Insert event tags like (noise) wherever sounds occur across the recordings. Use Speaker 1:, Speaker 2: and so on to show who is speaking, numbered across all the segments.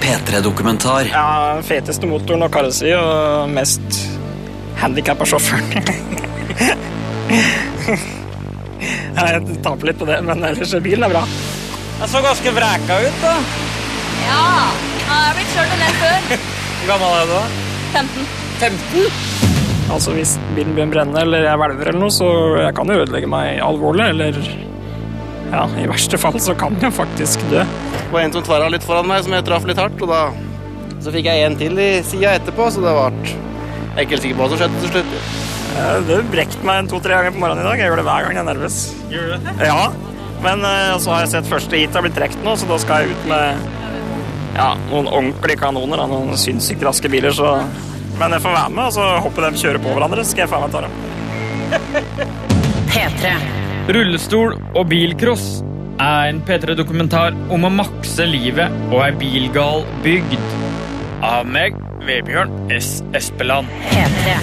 Speaker 1: P3-dokumentar.
Speaker 2: Ja, feteste motoren og karroseri og mest handikappa sjåføren. (laughs) ja, jeg taper litt på det, men ellers bilen er bra. Den så ganske vreka ut, da.
Speaker 3: Ja, jeg har blitt kjørt en del før.
Speaker 2: Hvor gammel er du da?
Speaker 3: 15.
Speaker 2: 15? Altså, Hvis bilen begynner å brenne eller jeg hvelver, eller noe, så jeg kan jo ødelegge meg alvorlig. Eller ja, i verste fall så kan jeg faktisk dø.
Speaker 4: Det var en som tverra litt foran meg, som jeg traff litt hardt. Og da så fikk jeg en til i sida etterpå, så det var Jeg er ikke helt sikker på hva som skjedde til slutt.
Speaker 2: Eh, Det brekte meg en to-tre ganger på morgenen i dag. Jeg gjør det hver gang jeg er nervøs. Gjør du det? Ja. Men eh, så har jeg sett første hit har blitt trukket nå, så da skal jeg ut med ja, noen ordentlige kanoner. Da, noen sinnssykt raske biler, så Men jeg får være med, altså, og så håper de kjører på hverandre, så skal jeg faen meg ta dem.
Speaker 5: P3.
Speaker 6: Rullestol og bilcross er en P3-dokumentar om å makse livet og ei bilgal bygd. Av meg, Vebjørn S. Espeland.
Speaker 5: P3.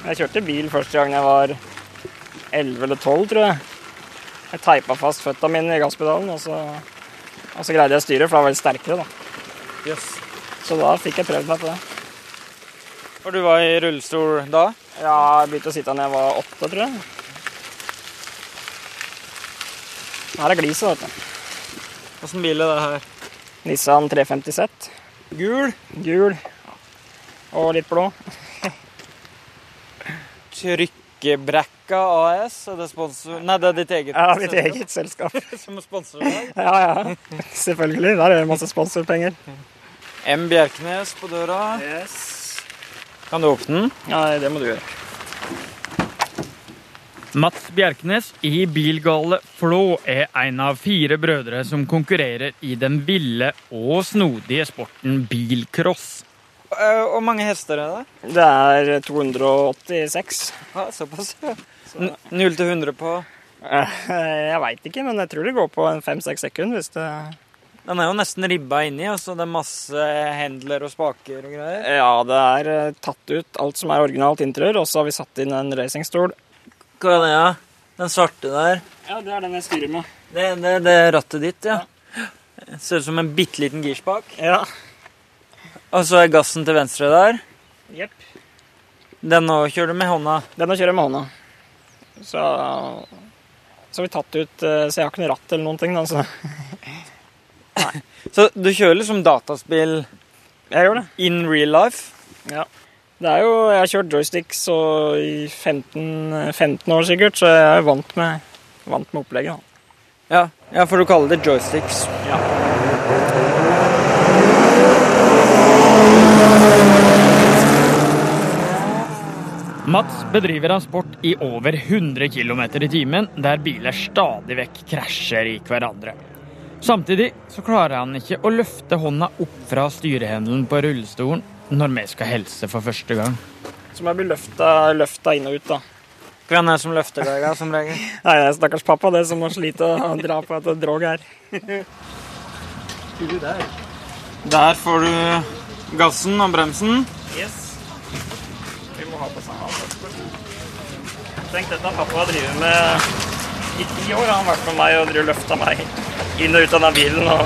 Speaker 2: Jeg kjørte bil første gang jeg var 11 eller 12, tror jeg. Jeg teipa fast føtta mine i gasspedalen, og så, og så greide jeg å styre, for da var jeg sterkere, da. Så da fikk jeg prøvd meg på det.
Speaker 7: Og du var i rullestol da?
Speaker 2: Ja, jeg begynte å sitte da jeg var åtte, tror jeg. Her er gliset, vet du.
Speaker 7: Åssen bil er det her?
Speaker 2: Nissan 350 Z.
Speaker 7: Gul.
Speaker 2: Gul. Og litt blå.
Speaker 7: Trykkebrekka AS. Er det sponsor... Nei, det er ditt eget.
Speaker 2: Ja, mitt eget selskap.
Speaker 7: selskap (laughs) Som sponsorer deg.
Speaker 2: Ja, ja. Selvfølgelig. Der er det masse sponsorpenger.
Speaker 7: M. Bjerknes på døra.
Speaker 2: Yes.
Speaker 7: Kan du åpne den?
Speaker 2: Ja, det må du gjøre.
Speaker 6: Mats Bjerknes i bilgale Flå er en av fire brødre som konkurrerer i den ville og snodige sporten bilcross.
Speaker 7: Eh, Hvor mange hester er det?
Speaker 2: Det er 286.
Speaker 7: Ja, såpass. ja. N- Null til 100 på
Speaker 2: Eh, Jeg veit ikke, men jeg tror det går på en fem-seks sekunder hvis det
Speaker 7: Den er jo nesten ribba inni, og så det er masse handler og spaker og greier.
Speaker 2: Ja, det er eh, tatt ut alt som er originalt interiør, og så har vi satt inn en racingstol.
Speaker 7: Hva er det, ja? Den svarte der.
Speaker 2: Ja, det er den jeg styrer med.
Speaker 7: Det, det, det er rattet ditt, ja. Ser ut som en bitte liten girspak.
Speaker 2: Ja.
Speaker 7: Og så er gassen til venstre der.
Speaker 2: Jepp.
Speaker 7: Den nå kjører du med hånda.
Speaker 2: Den å kjøre med hånda. Så, så har vi tatt ut eh, Så jeg har ikke noe ratt eller noen ting. Da, så.
Speaker 7: Så du kjører liksom dataspill
Speaker 2: Jeg gjør det.
Speaker 7: in real life?
Speaker 2: Det er jo, jeg har kjørt joysticks og i 15, 15 år sikkert, så jeg er jo vant med, vant med opplegget. Da.
Speaker 7: Ja, ja for du kaller det joysticks.
Speaker 6: Mats bedriver en sport i over 100 km i timen, der biler stadig vekk krasjer i hverandre. Samtidig så klarer han ikke å løfte hånda opp fra styrehendelen på rullestolen når vi skal helse for første gang.
Speaker 2: Så må jeg bli løfta, løfta inn og ut, da.
Speaker 7: Hvem er det som løfter deg, da, som regel?
Speaker 2: Nei, det er stakkars pappa det som må slite å dra på et drog her.
Speaker 7: Der får du gassen og bremsen.
Speaker 2: Yes. Vi må ha på samme Tenk, dette har pappa drevet med i ti år. Han har vært med meg og drevet løfta meg inn og ut av den bilen og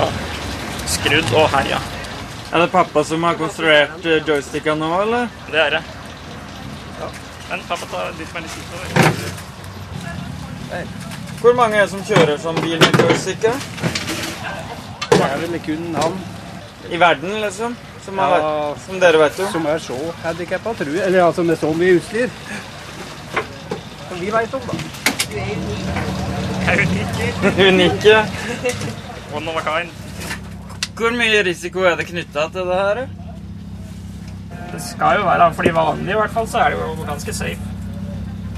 Speaker 2: skrudd og herja.
Speaker 7: Er det pappa som har konstruert eh, joystickene nå, eller?
Speaker 2: Det er det. Men pappa tar dytt meg litt utover.
Speaker 7: Hvor mange er det som kjører som bil med joysticker?
Speaker 4: Det er vel kun han
Speaker 7: I verden, liksom? Som, har,
Speaker 4: Ja.
Speaker 7: vært- som dere vet jo.
Speaker 4: som er så handikappa, tror jeg. Eller altså med så mye utstyr. Som vi veit om, da.
Speaker 7: (laughs) Unike.
Speaker 2: One of a kind.
Speaker 7: Hvor mye risiko er det knytta til det her?
Speaker 2: Det skal jo være, for de vanlige i hvert fall, så er det jo ganske safe.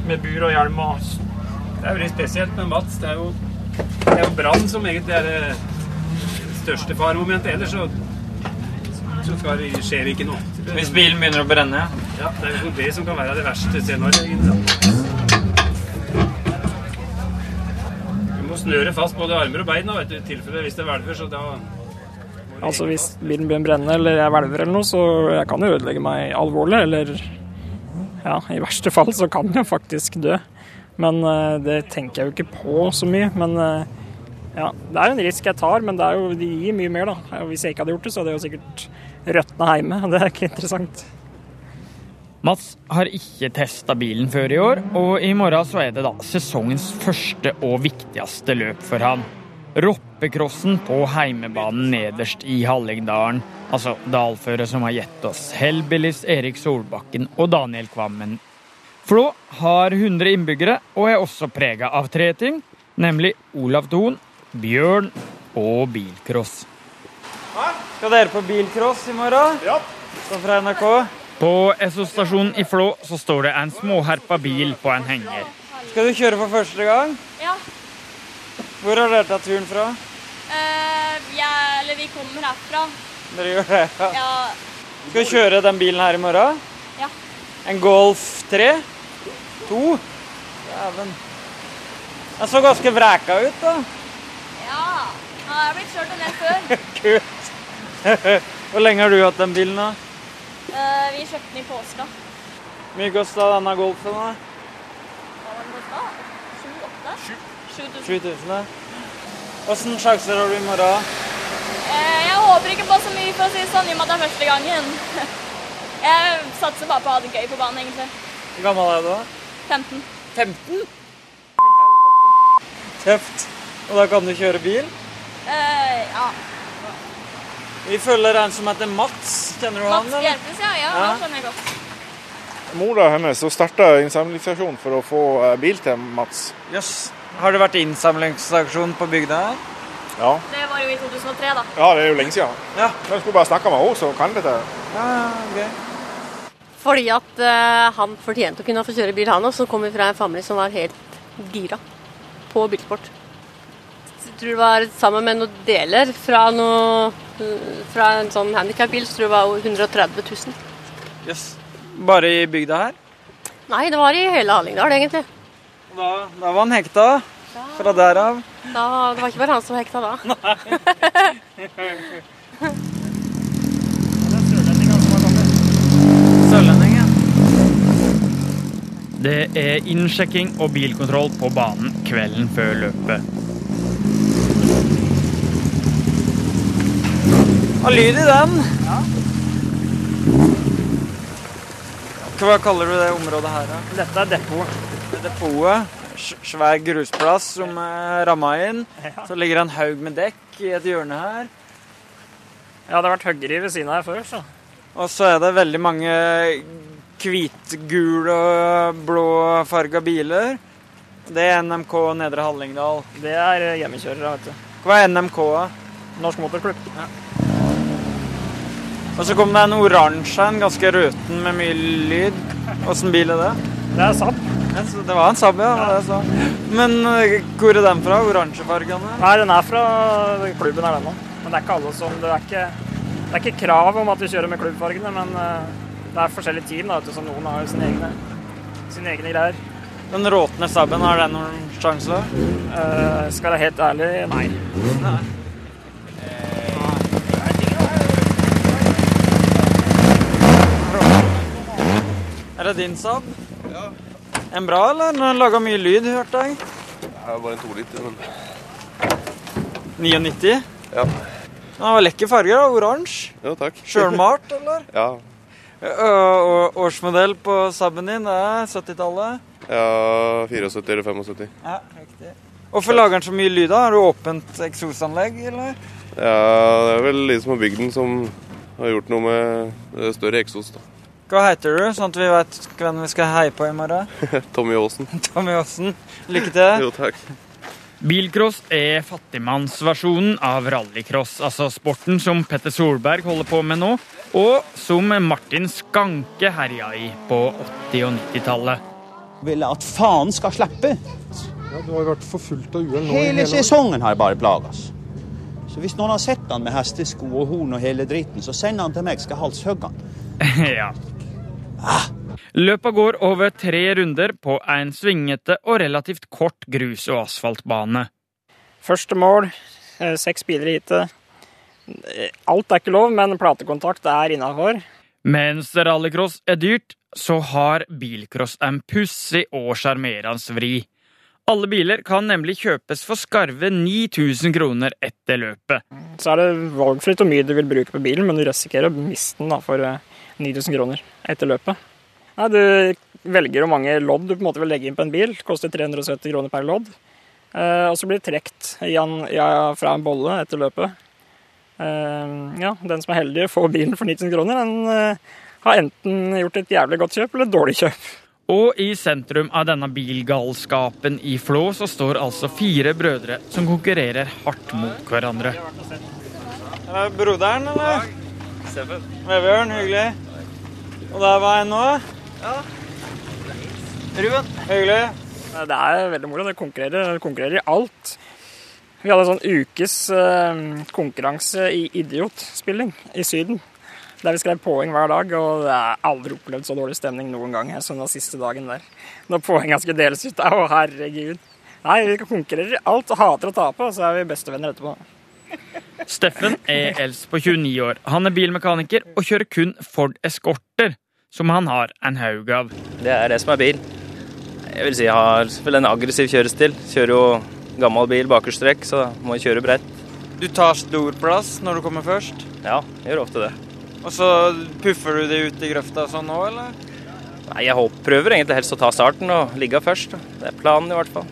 Speaker 2: Med bur og hjelm og
Speaker 8: Det er veldig spesielt med Mats. Det er jo, det er jo brann som egentlig er det største faremomentet. Ellers så, så skal det, skjer det ikke noe.
Speaker 7: Hvis bilen begynner å brenne? ja.
Speaker 8: Ja, det er jo det som kan være det verste scenarioet. Du må snøre fast både armer og bein da, vet du, i tilfelle hvis det hvelver, så da
Speaker 2: Altså Hvis bilen begynner å brenne eller jeg hvelver eller noe, så jeg kan jo ødelegge meg alvorlig. Eller ja, i verste fall så kan jeg faktisk dø. Men eh, det tenker jeg jo ikke på så mye. Men eh, ja, det er jo en risk jeg tar, men det, er jo, det gir mye mer, da. Og Hvis jeg ikke hadde gjort det, så hadde jeg jo sikkert røtna hjemme. og Det er ikke interessant.
Speaker 6: Mats har ikke testa bilen før i år, og i morgen så er det da sesongens første og viktigste løp for han. Roppekrossen på heimebanen nederst i Hallingdalen. Altså dalføret som har gitt oss Hellbillies Erik Solbakken og Daniel Kvammen. Flå har 100 innbyggere og er også prega av tre ting, nemlig Olav Thon, bjørn og bilcross.
Speaker 7: Skal dere på bilcross i morgen? Ja. Som fra NRK?
Speaker 6: På SO-stasjonen i Flå så står det en småherpa bil på en henger.
Speaker 7: Skal du kjøre for første gang?
Speaker 3: Ja.
Speaker 7: Hvor har dere tatt turen fra?
Speaker 3: Eh, jeg, eller vi kommer herfra.
Speaker 7: Dere gjør det, ja.
Speaker 3: Ja,
Speaker 7: Skal du kjøre den bilen her i morgen?
Speaker 3: Ja.
Speaker 7: En Golf 3? 2? Jæven. Den så ganske vreka ut, da.
Speaker 3: ja. ja jeg har blitt kjørt en del før.
Speaker 7: Kult. (laughs) Hvor lenge har du hatt den bilen, da?
Speaker 3: Eh, vi kjøpte den i påska.
Speaker 7: Hvor mye kosta denne Golfen? da?
Speaker 3: Hva var den kosta? 7-8? 7000.
Speaker 7: 7000? da. Åssen sjanser har du i morgen?
Speaker 3: Eh, jeg håper ikke på så mye, for å si det sånn, i og med at det er første gangen. (laughs) jeg satser bare på å ha det gøy på banen, egentlig.
Speaker 7: Hvor gammel er du, da?
Speaker 3: 15.
Speaker 7: 15? Tøft. Og da kan du kjøre bil?
Speaker 3: Eh, ja.
Speaker 7: Vi følger en som heter Mats. Kjenner du han?
Speaker 3: Mats
Speaker 7: eller?
Speaker 3: Bjerpes, ja. Ja,
Speaker 7: Ja.
Speaker 3: han skjønner jeg godt.
Speaker 1: Mora hennes hun starta en samlingsstasjon for å få eh, bil til Mats.
Speaker 7: Jøss. Har det vært innsamlingsaksjon på bygda her?
Speaker 1: Ja.
Speaker 3: Det var jo i 2003, da.
Speaker 1: ja, det er jo lenge siden.
Speaker 7: Ja.
Speaker 1: Jeg skulle bare snakke med henne, så hun kan dette.
Speaker 7: Ja, ja, ok.
Speaker 5: Fordi at eh, han fortjente å kunne få kjøre bil, han også, som kommer fra en familie som var helt gira på bilsport. Så Jeg tror det var sammen med noen deler fra, noe, fra en sånn handikapbil, så tror jeg det var 130 000.
Speaker 7: Jøss. Bare i bygda her?
Speaker 5: Nei, det var i hele Hallingdal, egentlig.
Speaker 7: Da, da var han hekta. Fra der av.
Speaker 5: Da, det var ikke bare han som var hekta da.
Speaker 7: Sørlending, ja.
Speaker 6: Det er innsjekking og bilkontroll på banen kvelden før løpet.
Speaker 7: Og lyd i den. Hva kaller du det området her, da?
Speaker 2: Dette er depot.
Speaker 7: Det er Depotet. S- Svær grusplass som er ramma inn. Så ligger det en haug med dekk i et hjørne her.
Speaker 2: Jeg hadde vært høggeri ved siden av her før, så.
Speaker 7: Og så er det veldig mange hvitgule og blåfarga biler. Det er NMK Nedre Hallingdal.
Speaker 2: Det er eh, hjemmekjørere, vet du.
Speaker 7: Hva er NMK? da?
Speaker 2: Norsk Motorklubb.
Speaker 7: Og så kom det en oransje, en ganske røten med mye lyd. Åssen bil er det?
Speaker 2: Det er SAP.
Speaker 7: Ja, så det var en Saab, ja. det var det jeg sa. Men eh, hvor er den fra? Oransjefargene?
Speaker 2: Nei, den er fra klubben er den da. Men det er ikke alle som Det er ikke, det er ikke krav om at du kjører med klubbfargene, men eh, det er forskjellige team, da, vet du, så noen har jo sine egne, sine egne greier.
Speaker 7: Den råtne Saaben, har den noen sjanse?
Speaker 2: Eh, skal jeg være helt ærlig, nei.
Speaker 7: Er det din Saab? Ja. En bra, eller? Den har laga mye lyd, hørte jeg.
Speaker 9: Det er bare en toliter, men
Speaker 7: 99.
Speaker 9: Ja.
Speaker 7: Den var lekker farger, da. Oransje.
Speaker 9: Jo, takk.
Speaker 7: Sjølmalt, eller?
Speaker 9: (laughs) Ja.
Speaker 7: Ø- ø- og årsmodell på Saaben din, det er 70-tallet.
Speaker 9: ja 74 eller 75.
Speaker 7: Ja, riktig. Hvorfor lager den så mye lyd, da? Har du åpent eksosanlegg, eller?
Speaker 9: Ja, det er vel de som har bygd den, som har gjort noe med eh, større eksos. da.
Speaker 7: Hva heter du, sånn at vi vet hvem vi skal heie på i morgen?
Speaker 9: Tommy
Speaker 4: (laughs)
Speaker 9: Aasen.
Speaker 7: Tommy Aasen. Lykke til.
Speaker 9: Jo, takk.
Speaker 6: Bilcross er fattigmannsversjonen av rallycross, altså sporten som Petter Solberg holder på med nå, og som Martin Skanke herja i på 80- og 90-tallet.
Speaker 10: vil at faen skal slippe.
Speaker 11: Du har vært forfulgt av uhell nå.
Speaker 10: Hele sesongen har jeg bare plages. Så hvis noen har sett han med hestesko og horn og hele dritten, så send han til meg, skal halshugge han.
Speaker 6: (laughs) ja. Løpet går over tre runder på en svingete og relativt kort grus- og asfaltbane.
Speaker 2: Første mål, eh, seks biler i heatet. Eh, Alt er ikke lov, men platekontakt er innafor.
Speaker 6: Mens rallycross er dyrt, så har bilcross en pussig og sjarmerende vri. Alle biler kan nemlig kjøpes for skarve 9000 kroner etter løpet.
Speaker 2: Så er det valgfritt hvor mye du vil bruke på bilen, men du risikerer å miste den da, for eh, 9000 kroner etter løpet. Nei, du velger hvor mange lodd du på en måte vil legge inn på en bil. Det koster 370 kroner per lodd. Eh, og så blir det trukket ja, fra en bolle etter løpet. Eh, ja, den som er heldig får bilen for 9000 kroner, den eh, har enten gjort et jævlig godt kjøp eller et dårlig kjøp.
Speaker 6: Og i sentrum av denne bilgalskapen i Flå så står altså fire brødre som konkurrerer hardt mot hverandre.
Speaker 7: Er det broderen, eller? Vebjørn, hyggelig. Og der var en nå? Ja. Ruben. Hyggelig.
Speaker 2: Det er veldig moro. Det konkurrerer, det konkurrerer i alt. Vi hadde en sånn ukes eh, konkurranse i idiotspilling i Syden. Der vi skrev poeng hver dag, og jeg har aldri opplevd så dårlig stemning noen gang. Jeg søndag siste dagen der. Når poengene skulle deles ut. Å, herregud. Nei, vi konkurrerer i alt og hater å tape, og så er vi bestevenner etterpå.
Speaker 6: Steffen er eldst på 29 år. Han er bilmekaniker og kjører kun Ford Escorter, som han har en haug av.
Speaker 12: Det er det som er bil. Jeg vil si jeg har vel en aggressiv kjørestil. Kjører jo gammel bil, bakerstrekk, så må jeg kjøre bredt.
Speaker 7: Du tar stor plass når du kommer først,
Speaker 12: Ja, jeg gjør ofte det.
Speaker 7: og så puffer du det ut i grøfta og sånn nå, eller?
Speaker 12: Nei, jeg håper, prøver egentlig helst å ta starten og ligge først. da. Det er planen i hvert fall.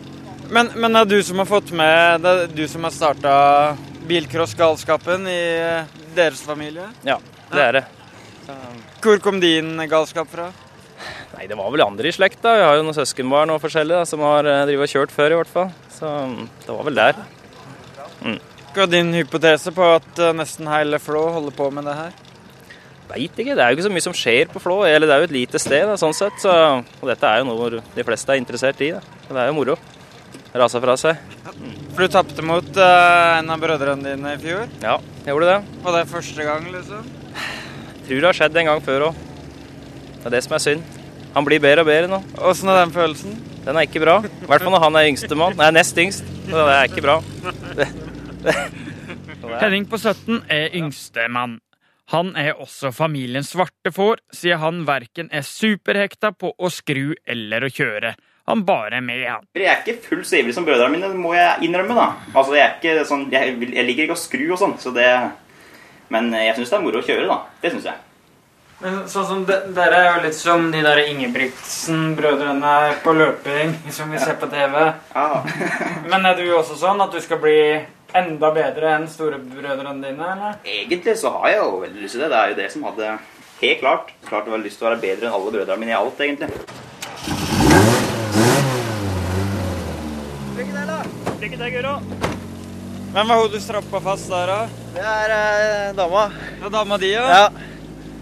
Speaker 7: Men, men det er du som har fått med Det er du som har starta bilcrossgalskapen i eh, deres familie?
Speaker 12: Ja, det er det.
Speaker 7: Hvor kom din galskap fra?
Speaker 12: Nei, det var vel andre i slekt da. Jeg har jo noen søskenbarn og forskjellige da, som har eh, drivet og kjørt før i hvert fall. Så mm, det var vel der. Mm.
Speaker 7: Hva er din hypotese på at eh, nesten hele Flå holder på med det her?
Speaker 12: Veit ikke. Det er jo ikke så mye som skjer på Flå. Eller det er jo et lite sted, da, sånn sett. Så, og dette er jo noe hvor de fleste er interessert i. Da. Og Det er jo moro. Rasa fra seg.
Speaker 7: For du tapte mot eh, en av brødrene dine i fjor.
Speaker 12: Ja, jeg gjorde det.
Speaker 7: Var det første gang, liksom?
Speaker 12: Tror det har skjedd en gang før òg. Det er det som er synd. Han blir bedre og bedre nå.
Speaker 7: Åssen er den følelsen?
Speaker 12: Den er ikke bra. I hvert fall når han er yngstemann. Nei, nest yngst. Så det er ikke bra. Det, det.
Speaker 6: Henning på 17 er yngstemann. Han er også familiens svarte får, siden han verken er superhekta på å skru eller å kjøre. Han bare er med, han.
Speaker 13: Jeg er ikke fullt så ivrig som brødrene mine, det må jeg innrømme. da. Altså, Jeg, er ikke sånn, jeg, vil- jeg liker ikke å skru og sånn, så det Men jeg syns det er moro å kjøre, da. Det syns jeg.
Speaker 7: Men sånn som de, Dere er jo litt som de der Ingebrigtsen-brødrene på løping som vi ser på TV. Men er du også sånn at du skal bli enda bedre enn storebrødrene dine? eller?
Speaker 13: (laughs) Egentlig så har jeg jo veldig lyst til det. Det er jo det som hadde helt klart klart jeg hadde lyst til å være bedre enn alle brødrene mine i alt, egentlig.
Speaker 2: Lykke til, da. Lykke til, Guro.
Speaker 7: Hvem var hun du strappa fast der, da?
Speaker 14: Det er eh, dama.
Speaker 7: Det er dama di, ja?
Speaker 14: Ja.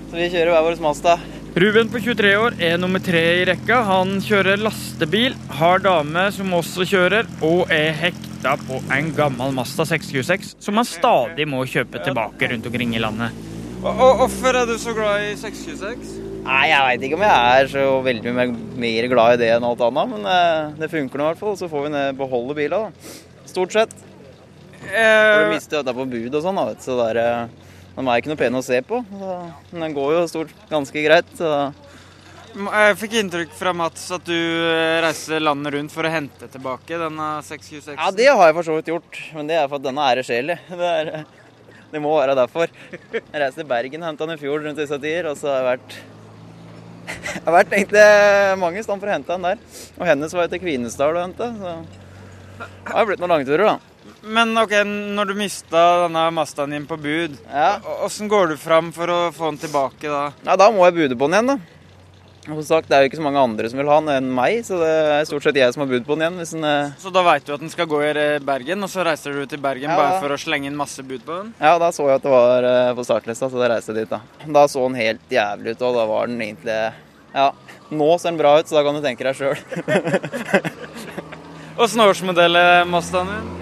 Speaker 14: Så vi kjører hver vår Mazda.
Speaker 6: Ruben på 23 år er nummer tre i rekka. Han kjører lastebil, har dame som også kjører, og er hekta på en gammel Mazda 626 som han stadig må kjøpe tilbake rundt omkring i landet.
Speaker 7: Og, og hvorfor er du så glad i 626?
Speaker 14: Nei, jeg veit ikke om jeg er så veldig mer, mer glad i det enn alt annet, men eh, det funker nå i hvert fall. Så får vi ned, beholde bila, da. Stort sett. For
Speaker 7: Eh,
Speaker 14: Du mister jo dette på bud og sånn, da, vet du. Så det er, eh, de er ikke noe pene å se på. Så, men den går jo stort ganske greit. Så
Speaker 7: Jeg fikk inntrykk fra Mats at du eh, reiser landet rundt for å hente tilbake denne 626.
Speaker 14: Ja, det har jeg for så vidt gjort, men det er for at denne er sjelig. (laughs) Det, er, det må være derfor. Jeg reiste til Bergen og henta den i fjor rundt disse tider, og så har jeg vært (laughs) Jeg har vært egentlig mange steder for å hente den der. Og hennes var jo til Kvinesdal å hente, så det har jo blitt noen langturer, da.
Speaker 7: Men ok, når du mista denne Mazdaen din på bud, åssen går du fram for å få den tilbake da?
Speaker 14: Nei, da må jeg bude på den igjen, da. Og Som sagt, det er jo ikke så mange andre som vil ha den enn meg, så det er stort sett jeg som har bud på den igjen. Hvis den, eh,
Speaker 7: Så da veit du at den skal gå i eh, Bergen, og så reiser du til Bergen
Speaker 14: Ja,
Speaker 7: bare
Speaker 14: da.
Speaker 7: for å slenge inn masse bud på den?
Speaker 14: Ja, da så jeg at det var eh, på startlista, så da reiste jeg dit, da. Da så den helt jævlig ut, og da var den egentlig Ja, nå ser den bra ut, så da kan du tenke deg sjøl.
Speaker 7: Åssen årsmodell er Mazdaen din?
Speaker 14: (laughs)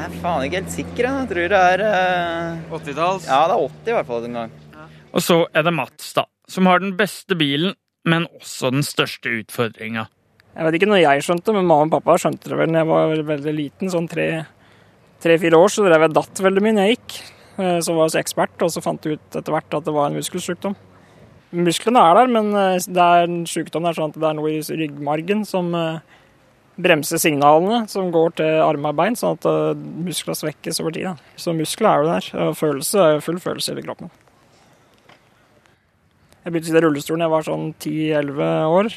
Speaker 14: Jeg er faen ikke helt sikker, jeg. Jeg tror det er eh,
Speaker 7: 80-talls?
Speaker 14: Ja, det er 80 i hvert fall den gang.
Speaker 6: Og så er det Mats, da, som har den beste bilen, men også den største utfordringa.
Speaker 2: Jeg vet ikke når jeg skjønte, men mamma og pappa skjønte det vel da jeg var veldig, veldig liten, sånn tre- tre-fire år, så drev jeg datt veldig mye når jeg gikk. Eh, Så var jeg også ekspert, og så fant jeg ut etter hvert at det var en muskelsykdom. Musklene er der, men eh, det er en sykdom der, sånn at det er noe i ryggmargen som eh, bremser signalene som går til armer og bein, sånn at eh, muskler svekkes over tid. Da. Så muskler er jo der, og følelse er jo full følelse i hele kroppen. Jeg begynte å sitte i rullestolen da jeg var sånn 10-11 år.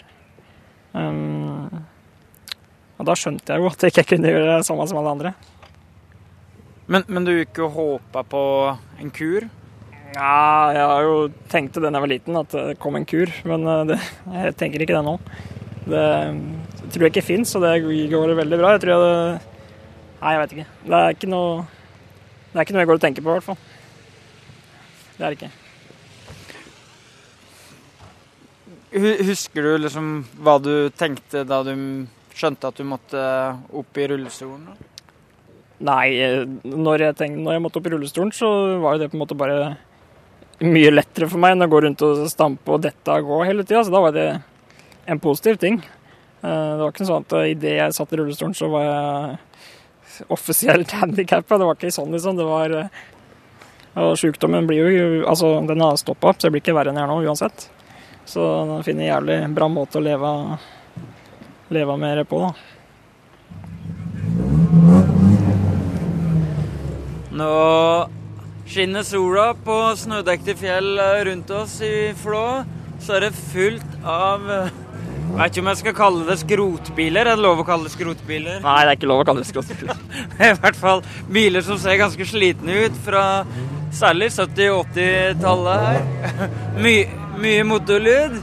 Speaker 2: Um, og da skjønte jeg jo at jeg ikke kunne gjøre det samme som alle andre.
Speaker 7: Men, men du ikke håpa på en kur?
Speaker 2: Ja, jeg har jo tenkte det da jeg var liten, at det kom en kur, men eh, det, jeg tenker ikke det nå. Det eh, tror jeg ikke fins, og det går veldig bra. Jeg tror jeg det Nei, jeg vet ikke. Det er ikke noe Det er ikke noe jeg går og tenker på, i hvert fall. Det er det ikke.
Speaker 7: Hu- Husker du liksom hva du tenkte da du skjønte at du måtte opp i rullestolen? da?
Speaker 2: Nei, eh, når jeg, tenkte, når jeg måtte opp i rullestolen, så var jo det på en måte bare mye lettere for meg enn å gå rundt og stampe og dette og gå hele tida, så da var det en positiv ting. Eh, Det var ikke sånn at eh, idet jeg satt i rullestolen, så var jeg offisielt (laughs) handikappa. Det var ikke sånn, liksom. Det var eh, Og sjukdommen blir jo Altså, den har stoppa opp, så jeg blir ikke verre enn jeg er nå uansett. Så jeg finner en jævlig bra måte å leve, leve med det på, da.
Speaker 7: Nå skinner sola på snødekte fjell eh, rundt oss i Flå. Så er det fullt av eh, Vet ikke om jeg skal kalle det skrotbiler. Er det lov å kalle det skrotbiler? (laughs)
Speaker 2: Nei, det er ikke lov å kalle det skrotbiler.
Speaker 7: I hvert fall biler som ser ganske slitne ut fra særlig 70-80-tallet her. (laughs) My, mye motorlyd.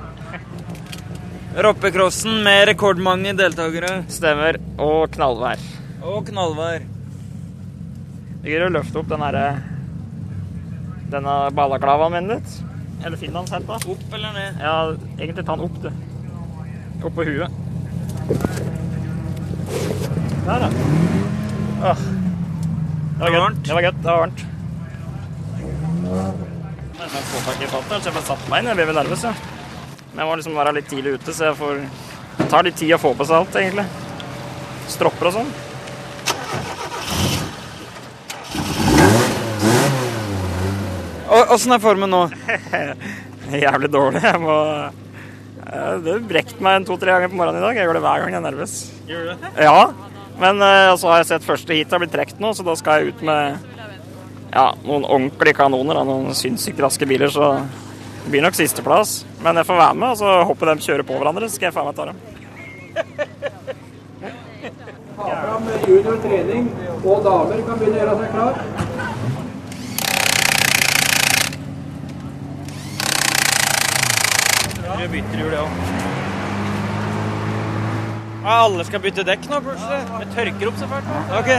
Speaker 7: Roppekrossen med rekordmange deltakere.
Speaker 2: Stemmer. Og knallvær.
Speaker 7: Og knallvær.
Speaker 2: Du greier å løfte opp den herre Denne balaklavaen min litt. Eller finlandshetta.
Speaker 7: Opp eller ned?
Speaker 2: Ja, egentlig ta den opp, du. Opp på huet. Der, ja. Åh. Det var godt. Det var godt. Det var varmt. Jeg kan få tak i fatteren, så jeg får satt meg inn. Jeg blir veldig nervøs, ja. Men jeg må liksom være litt tidlig ute, så jeg får Det tar litt tid å få på seg alt, egentlig. Stropper og sånn.
Speaker 7: Åssen er formen nå?
Speaker 2: (laughs) Jævlig dårlig. Jeg må Eh, Det brekte meg en to-tre ganger på morgenen i dag. Jeg gjør det hver gang jeg er nervøs.
Speaker 8: Gjør du det?
Speaker 2: Ja. Men eh, så har jeg sett første hit har blitt trukket nå, så da skal jeg ut med ja, noen ordentlige kanoner. Da, noen sinnssykt raske biler, så det blir nok sisteplass. Men jeg får være med, og så håper de kjører på hverandre, så skal jeg faen meg ta dem.
Speaker 15: Ta fram junior trening, og damer kan begynne å gjøre seg klar.
Speaker 7: Jeg bytter hjul, jeg òg. Alle skal bytte dekk nå, plutselig? Det tørker opp så fælt. Ok.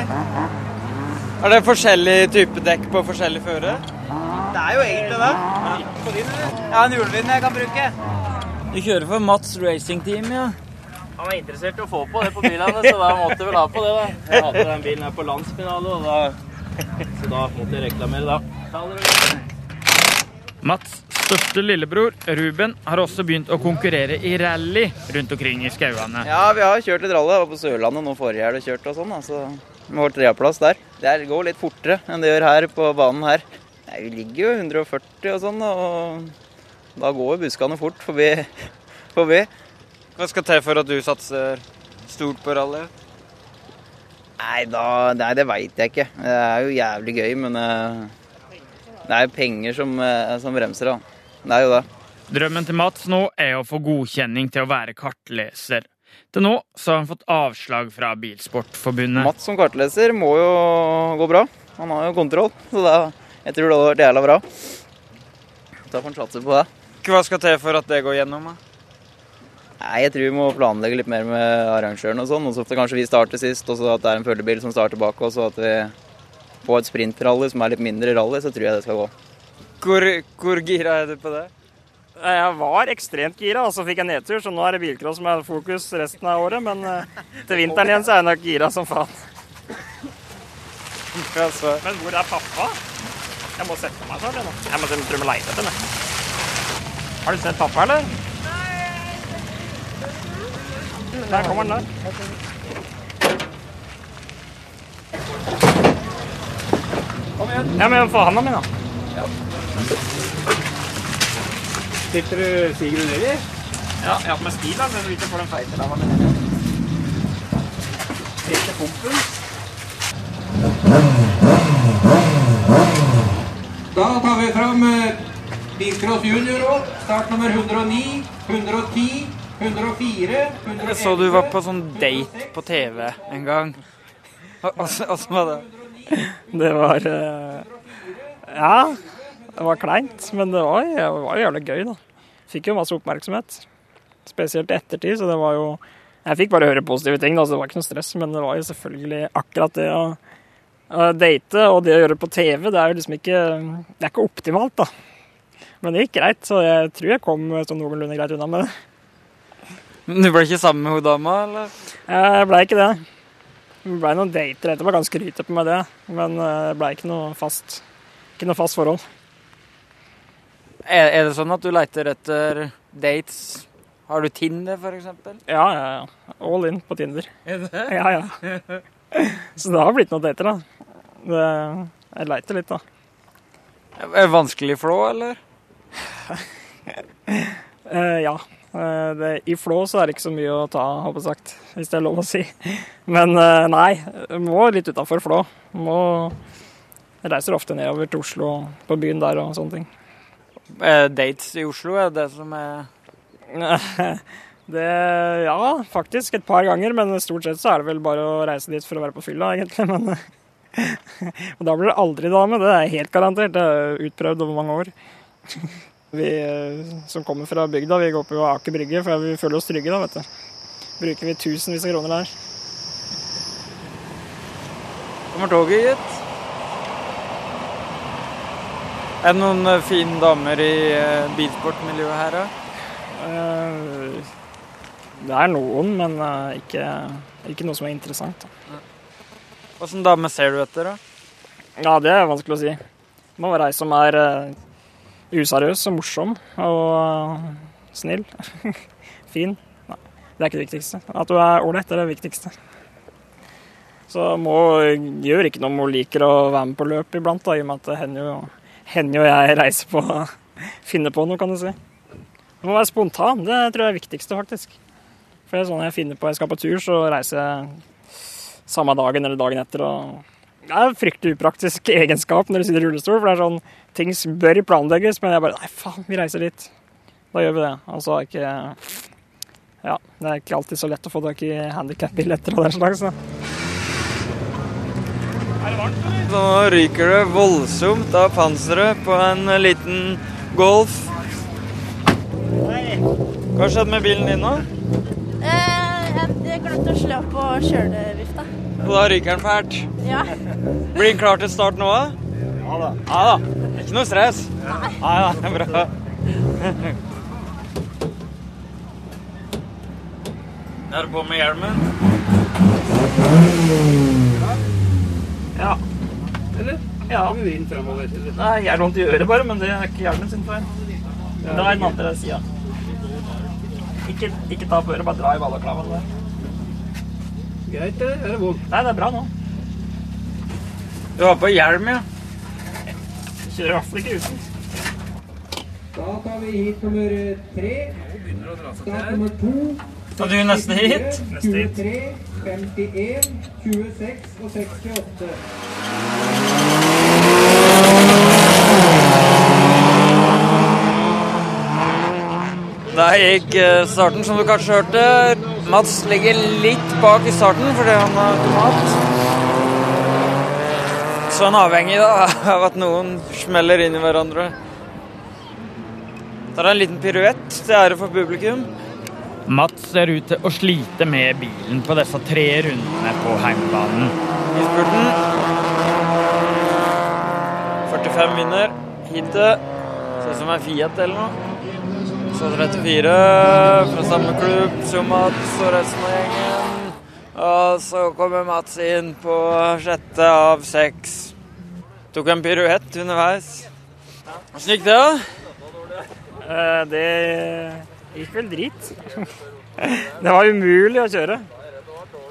Speaker 7: Er det forskjellig type dekk på forskjellig føre?
Speaker 14: Det er jo egentlig det. På din, eller? Jeg har en hjulvind jeg kan bruke.
Speaker 7: Du kjører for Mats Racing Team, ja?
Speaker 14: Han var interessert i å få på det på bilene, så da måtte jeg vel ha på det, da. Jeg hadde den bilen her på landsfinale, og da, så da måtte jeg reklamere, da. Ta dere.
Speaker 6: Mats' største lillebror, Ruben, har også begynt å konkurrere i rally rundt omkring i skauene.
Speaker 14: Ja, vi har kjørt litt rally. Jeg var på Sørlandet nå forrige helg og kjørt og sånn. da, så Vi har treplass der. Det her går litt fortere enn det gjør her på banen her. Nei, vi ligger jo 140 og sånn, og da går jo buskene fort (laughs) forbi. forbi.
Speaker 7: Hva skal til for at du satser stort på rally?
Speaker 14: Nei, da, nei, det veit jeg ikke. Det er jo jævlig gøy, men eh, det er jo penger som, eh, som bremser, da. Det er jo det.
Speaker 6: Drømmen til Mats nå er å få godkjenning til å være kartleser. Til nå så har han fått avslag fra Bilsportforbundet.
Speaker 14: Mats som kartleser må jo gå bra. Han har jo kontroll, så da, jeg tror det hadde vært jævla bra. Da får han satse på det.
Speaker 7: Hva skal til for at det går gjennom? da?
Speaker 14: Nei, jeg tror vi må planlegge litt mer med arrangøren og sånn. Og så at kanskje vi starter sist, og så at det er en følgebil som starter bak oss, og at vi får et sprintrally som er litt mindre rally, så tror jeg det skal gå.
Speaker 7: Hvor, hvor gira er du på det?
Speaker 2: Eh, Jeg var ekstremt gira, og så fikk jeg nedtur, så nå er det bilcross som er fokus resten av året. Men eh, til vinteren igjen så er jeg nok gira som (laughs) faen. Men hvor er pappa? Jeg må sette meg snart, jeg nå. Jeg må se om jeg leter etter ham. Har du sett pappa, eller?
Speaker 3: Nei,
Speaker 2: Der kommer den der. Ja, men få handa mi, da.
Speaker 8: Sitter du Sigurd nedi?
Speaker 2: Ja, jeg har på meg stil, da, så du ikke får den feite ræva mi. Sitter pumpen.
Speaker 15: Da tar vi fram eh, Bilcross Junior òg. Start nummer 109, 110, 104, 111
Speaker 7: Jeg så du var på sånn date på TV en gang. Åssen var det?
Speaker 2: Det var eh, Ja, det var kleint, men det var, det var jævlig gøy, da. Fikk jo masse oppmerksomhet. Spesielt i ettertid, så det var jo Jeg fikk bare høre positive ting, da, så det var ikke noe stress, men det var jo selvfølgelig akkurat det å å date og det å gjøre det på TV, det er jo liksom ikke Det er ikke optimalt, da. Men det gikk greit, så jeg tror jeg kom sånn noenlunde greit unna med det.
Speaker 7: Men Du ble ikke sammen med hun dama, eller?
Speaker 2: Jeg blei ikke det. Det blei noen dater etterpå, kan skryte på meg det. Men eh, det blei ikke noe fast Ikke noe fast forhold.
Speaker 7: Er, er det sånn at du leiter etter dates? Har du Tinder, for eksempel?
Speaker 2: Ja, ja, ja. All in på Tinder.
Speaker 7: Er det?
Speaker 2: Ja, ja.
Speaker 7: (laughs)
Speaker 2: Så det har blitt noen dater, da. Det, jeg leiter litt, da.
Speaker 7: Er det vanskelig flå, eller?
Speaker 2: Eh, ja. Eh, det, I Flå så er det ikke så mye å ta, håper jeg sagt, hvis det er lov å si. Men eh, nei, må litt utafor Flå. Må jeg reiser ofte nedover til Oslo, på byen der og sånne ting.
Speaker 7: Eh, Dates i Oslo er det som er
Speaker 2: (laughs) Det, ja, faktisk et par ganger, men stort sett så er det vel bare å reise dit for å være på fylla, egentlig. Men (laughs) og da blir det aldri dame, det er helt garantert. Det er utprøvd over mange år. (laughs) Vi eh, som kommer fra bygda, vi går på Aker Brygge, for vi føler oss trygge da, vet du. Bruker vi tusenvis av kroner der.
Speaker 7: Kommer toget, gitt. Er det noen eh, fine damer i eh, bilsportmiljøet her, da?
Speaker 2: Eh, Det er noen, men eh, ikke, ikke noe som er interessant. Da.
Speaker 7: Åssen dame ser du etter, da?
Speaker 2: Ja, det er vanskelig å si. Det må være ei som er eh, useriøs og morsom og eh, snill. (laughs) fin. Nei, det er ikke det viktigste. At du er ålreit, det er det viktigste. Så må, gjør ikke noe om hun liker å være med på løp iblant, da, i og med at det hender jo, hender jo jeg reiser på (laughs) finner på noe, kan du si. Det må være spontan. Det tror jeg er det viktigste, faktisk. For det er sånn jeg finner på jeg skal på tur, så reiser jeg samme dagen eller dagen etter. og Det er en fryktelig upraktisk egenskap når du sitter i rullestol. For det er sånn, ting bør planlegges, men jeg bare Nei, faen, vi reiser dit. Da gjør vi det. Og så er ikke Ja, det er ikke alltid så lett å få tak i handikapbilletter og den slags. Da.
Speaker 7: Nå ryker det voldsomt av panseret på en eh, liten Golf. Hva har skjedd med bilen din nå?
Speaker 16: Eh, Jeg glemte å slå på kjølevifta.
Speaker 7: Og da ryker den fælt.
Speaker 16: Ja.
Speaker 7: Blir den klar til start nå, da? Ja da. Ja da. Det er ikke noe stress? Nei. Ja, det er bra. (laughs) Er du på med hjelmen?
Speaker 2: Ja. Eller? Ja. Nei, jeg er vondt i øret bare, men det er ikke hjelmen sin feil. Det er den andre sida. Ikke, ikke ta på øret, bare dra i balaklavaen der. Greit, det. Er det vondt? Nei, det er bra nå.
Speaker 7: Du har på hjelm, ja.
Speaker 2: Kjører i hvert fall ikke uten.
Speaker 15: Da tar vi hit nummer eh, tre. Start nummer to.
Speaker 7: Tar du neste hit?
Speaker 15: 24,
Speaker 7: Neste hit.
Speaker 15: 23, 51, 26 og 68.
Speaker 7: Der gikk eh, starten, som du kanskje hørte. Mats ligger litt bak i starten fordi han har automat. Så han er avhengig da, (laughs) av at noen smeller inn i hverandre. Så er det en liten piruett til ære for publikum.
Speaker 6: Mats ser ut til å slite med bilen på disse tre rundene på heimbanen.
Speaker 7: Innspurten. 45 vinner. Heatet. Ser ut som en Fiat eller noe. Så 34 fra samme klubb som Mats og resten av gjengen. Og så kommer Mats inn på sjette av seks. Tok en piruett underveis. Åssen gikk det, da?
Speaker 2: Eh, det gikk vel drit. (laughs) Det var umulig å kjøre.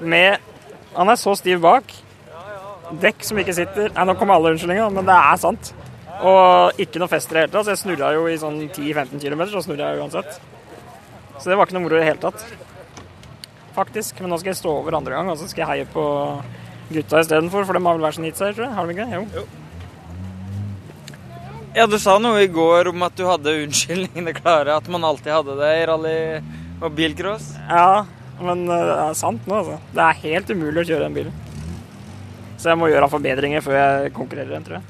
Speaker 2: Med Han er så stiv bak. Dekk som ikke sitter. Nei, nå kommer alle unnskyldningene, men det er sant. Og ikke noe fest i det hele tatt. Så jeg snurra jo i sånn 10-15 km, så snurra jeg uansett. Så det var ikke noe moro i det hele tatt. Faktisk. Men nå skal jeg stå over andre gang, og så skal jeg heie på gutta istedenfor. For de har vel hver sin hit seg, tror jeg. Har de ikke? Jo.
Speaker 7: Ja, du sa noe i går om at du hadde unnskyldningene klare, at man alltid hadde det i rally og bilcross.
Speaker 2: Ja, men eh, det er sant nå, altså. Det er helt umulig å kjøre den bilen. Så jeg må gjøre forbedringer før jeg konkurrerer den, tror jeg.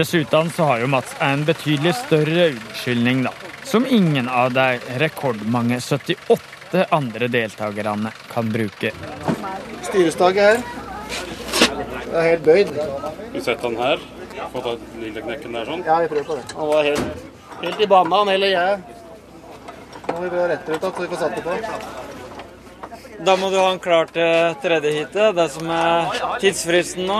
Speaker 6: Dessuten så har jo Mats en betydelig større unnskyldning, da. Som ingen av de rekordmange 78 andre deltakerne kan bruke.
Speaker 17: Styrestaget her. Det er helt bøyd.
Speaker 18: Du setter den her. Få ta lille knekken der sånn.
Speaker 17: Ja, vi prøver på det. Han var helt, helt i banen, han heller jeg. Nå må vi prøve å rette ut, da, så vi får satt det på.
Speaker 7: Da må du ha en klar til tredje heatet, det som er tidsfristen nå.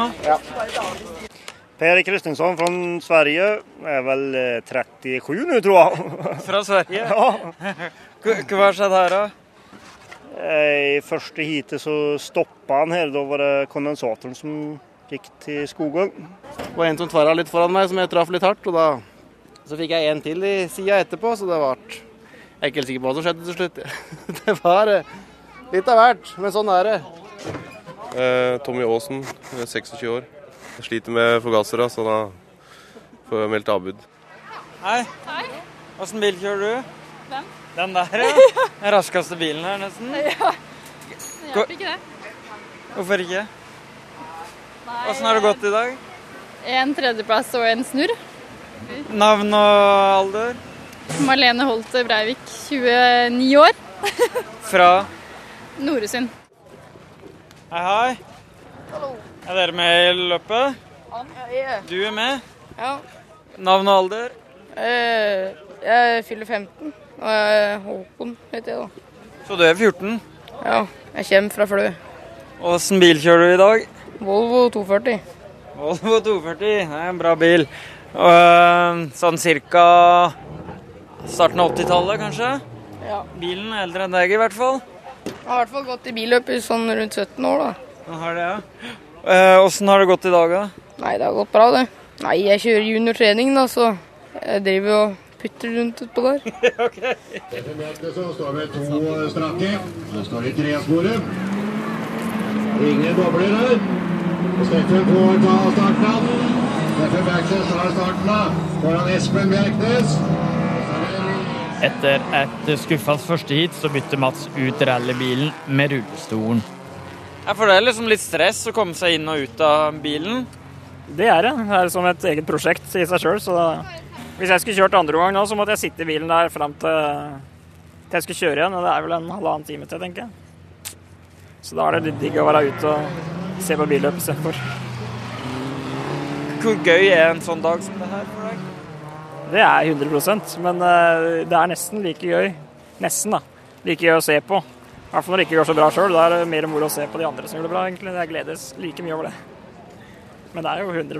Speaker 19: Per Kristinsson fra Sverige er vel eh, 37 nå, tror jeg. (laughs)
Speaker 7: Fra Sverige? Ja. Hva har skjedd her, da?
Speaker 19: Eh, I første heatet så stoppa han her. Da var det kondensatoren som gikk til skogen.
Speaker 20: Det var en som tverra litt foran meg, som jeg traff litt hardt. Og da så fikk jeg en til i sida etterpå, så det vart Jeg er ikke helt sikker på hva som skjedde til slutt. Det var eh, litt av hvert, men sånn er det.
Speaker 9: Eh, Tommy Aasen, eh, 26 år. Jeg sliter med forgassere, så da får jeg meldt avbud.
Speaker 7: Hei. Hei. Åssen bil kjører du? Hvem? Den der, ja. Den raskeste bilen her, nesten.
Speaker 3: Ja. Det hjelper
Speaker 7: Hvor-
Speaker 3: ikke det.
Speaker 7: Hvorfor ikke? Åssen har det gått i dag?
Speaker 3: En tredjeplass og en snurr.
Speaker 7: Navn og alder?
Speaker 3: Marlene Holte Breivik, 29 år.
Speaker 7: Fra?
Speaker 3: Noresund.
Speaker 7: Hei, hei. Er dere med i løpet? Du er med?
Speaker 14: Ja.
Speaker 7: Navn og alder?
Speaker 14: Eh, jeg fyller 15, og jeg er Eh, Håkon heter jeg da.
Speaker 7: Så du er 14?
Speaker 14: Ja, jeg kommer fra Flø.
Speaker 7: Åssen bil kjører du i dag?
Speaker 14: Volvo 240.
Speaker 7: Volvo 240, det er en bra bil. Og, øh, sånn cirka starten av 80-tallet, kanskje?
Speaker 14: Ja.
Speaker 7: Bilen er eldre enn deg, i hvert fall.
Speaker 14: Jeg har i hvert fall gått i billøp i sånn rundt 17 år, da.
Speaker 7: Den har det, ja. Øh, Åssen har det gått i dag, da?
Speaker 14: Nei, det har gått bra, det. Nei, jeg kjører juniortrening, da, så jeg driver og putter rundt utpå der.
Speaker 21: Så står vi to strake. Så står det tresporet. Ingen bobler her. Og Steffen får ta starten av den. Steffen Bergsnes tar starten av foran Espen Bjerknes.
Speaker 6: Etter et skuffende første heat så bytter Mats ut rallybilen med rullestolen.
Speaker 7: Jeg får det er liksom litt stress å komme seg inn og ut av bilen.
Speaker 2: Det er det. Det er som et eget prosjekt i seg sjøl. Så hvis jeg skulle kjørt andre gang nå, så måtte jeg sitte i bilen der fram til, til jeg skulle kjøre igjen. Og det er vel en halvannen time til, tenker jeg. Så da er det litt digg å være ute og se på billøp istedenfor.
Speaker 7: Hvor gøy er en sånn dag som det her for deg?
Speaker 2: Det er 100 men eh, det er nesten like gøy. Nesten, da. Like gøy å se på. I hvert fall når det ikke går så bra sjøl. Da er det mer moro å se på de andre som gjør det bra, egentlig. Jeg gledes like mye over det. Men det er jo 100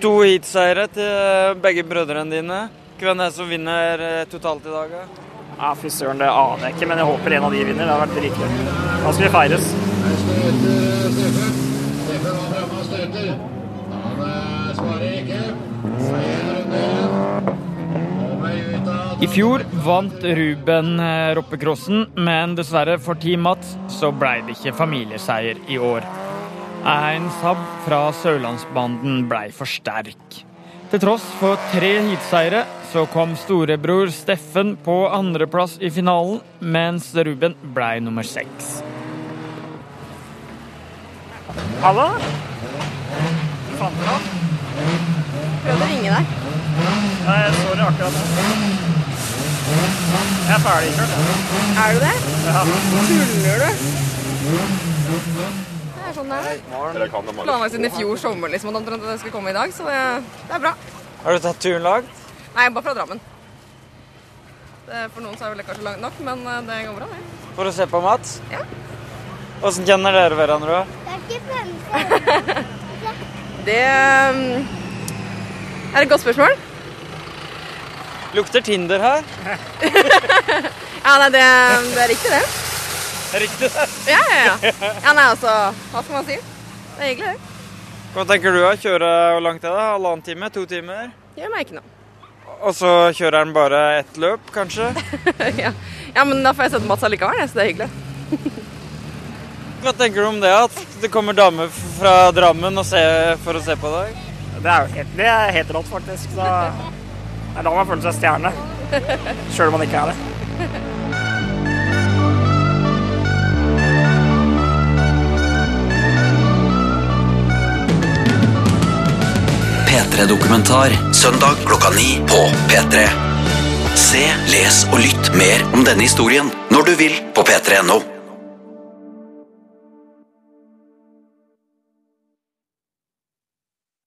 Speaker 7: To heatseiere til begge brødrene dine. Hvem er det som vinner eh, totalt i dag? da?
Speaker 2: Ja, fy søren, det aner jeg ikke, men jeg håper en av de vinner. Det hadde vært dritgøy. Da skal vi feires.
Speaker 21: Steffen var fremme og støter. Han eh, svarer ikke.
Speaker 6: I fjor vant Ruben eh, Roppekrossen, men dessverre for Team Mats så blei det ikke familieseier i år. En Saab fra Sørlandsbanden blei for sterk. Til tross for tre heatseiere så kom storebror Steffen på andreplass i finalen, mens Ruben blei nummer seks.
Speaker 2: Hallo?
Speaker 22: Prøvde å ringe deg.
Speaker 2: Nei, jeg så det akkurat nå. Jeg er ferdig kjørt, jeg.
Speaker 22: Er du det?
Speaker 2: Ja.
Speaker 22: Tuller du?
Speaker 23: Det er sånn det er.
Speaker 7: Dere kan det, Marit.
Speaker 23: Planlagt siden i fjor sommer liksom, at omtrent at jeg skulle komme i dag, så det, det er bra.
Speaker 7: Har du tatt turen lag?
Speaker 23: Nei, jeg er bare fra Drammen. Det, for noen så er det vel kanskje langt nok, men eh, det går bra, det.
Speaker 7: For å se på Mats? Ja. Åssen kjenner dere hverandre?
Speaker 23: Det um, er et godt spørsmål.
Speaker 7: Lukter Tinder her?
Speaker 23: ja,
Speaker 3: Ja, nei, det, det er riktig, det.
Speaker 7: Riktig det.
Speaker 3: Ja, ja, ja. Ja, nei, altså, hva skal man si? Det er hyggelig, det.
Speaker 7: Hva tenker du da? Kjøre hvor langt er det? Halvannen time? To timer?
Speaker 3: Gjør meg ikke noe. (laughs)
Speaker 7: Og så kjører han bare ett løp, kanskje?
Speaker 3: ja. ja, men da får jeg sett Mats allikevel, jeg, så det er hyggelig.
Speaker 7: (laughs) Hva tenker du om det, at det kommer damer f- fra Drammen og se, for å se på deg?
Speaker 2: Det er jo helt, det er helt rått, faktisk. Da, det er da man føler seg stjerne. Sjøl om man ikke er det.
Speaker 1: P3-dokumentar søndag klokka ni på P3. Se, les og lytt mer om denne historien når du vil på p3.no.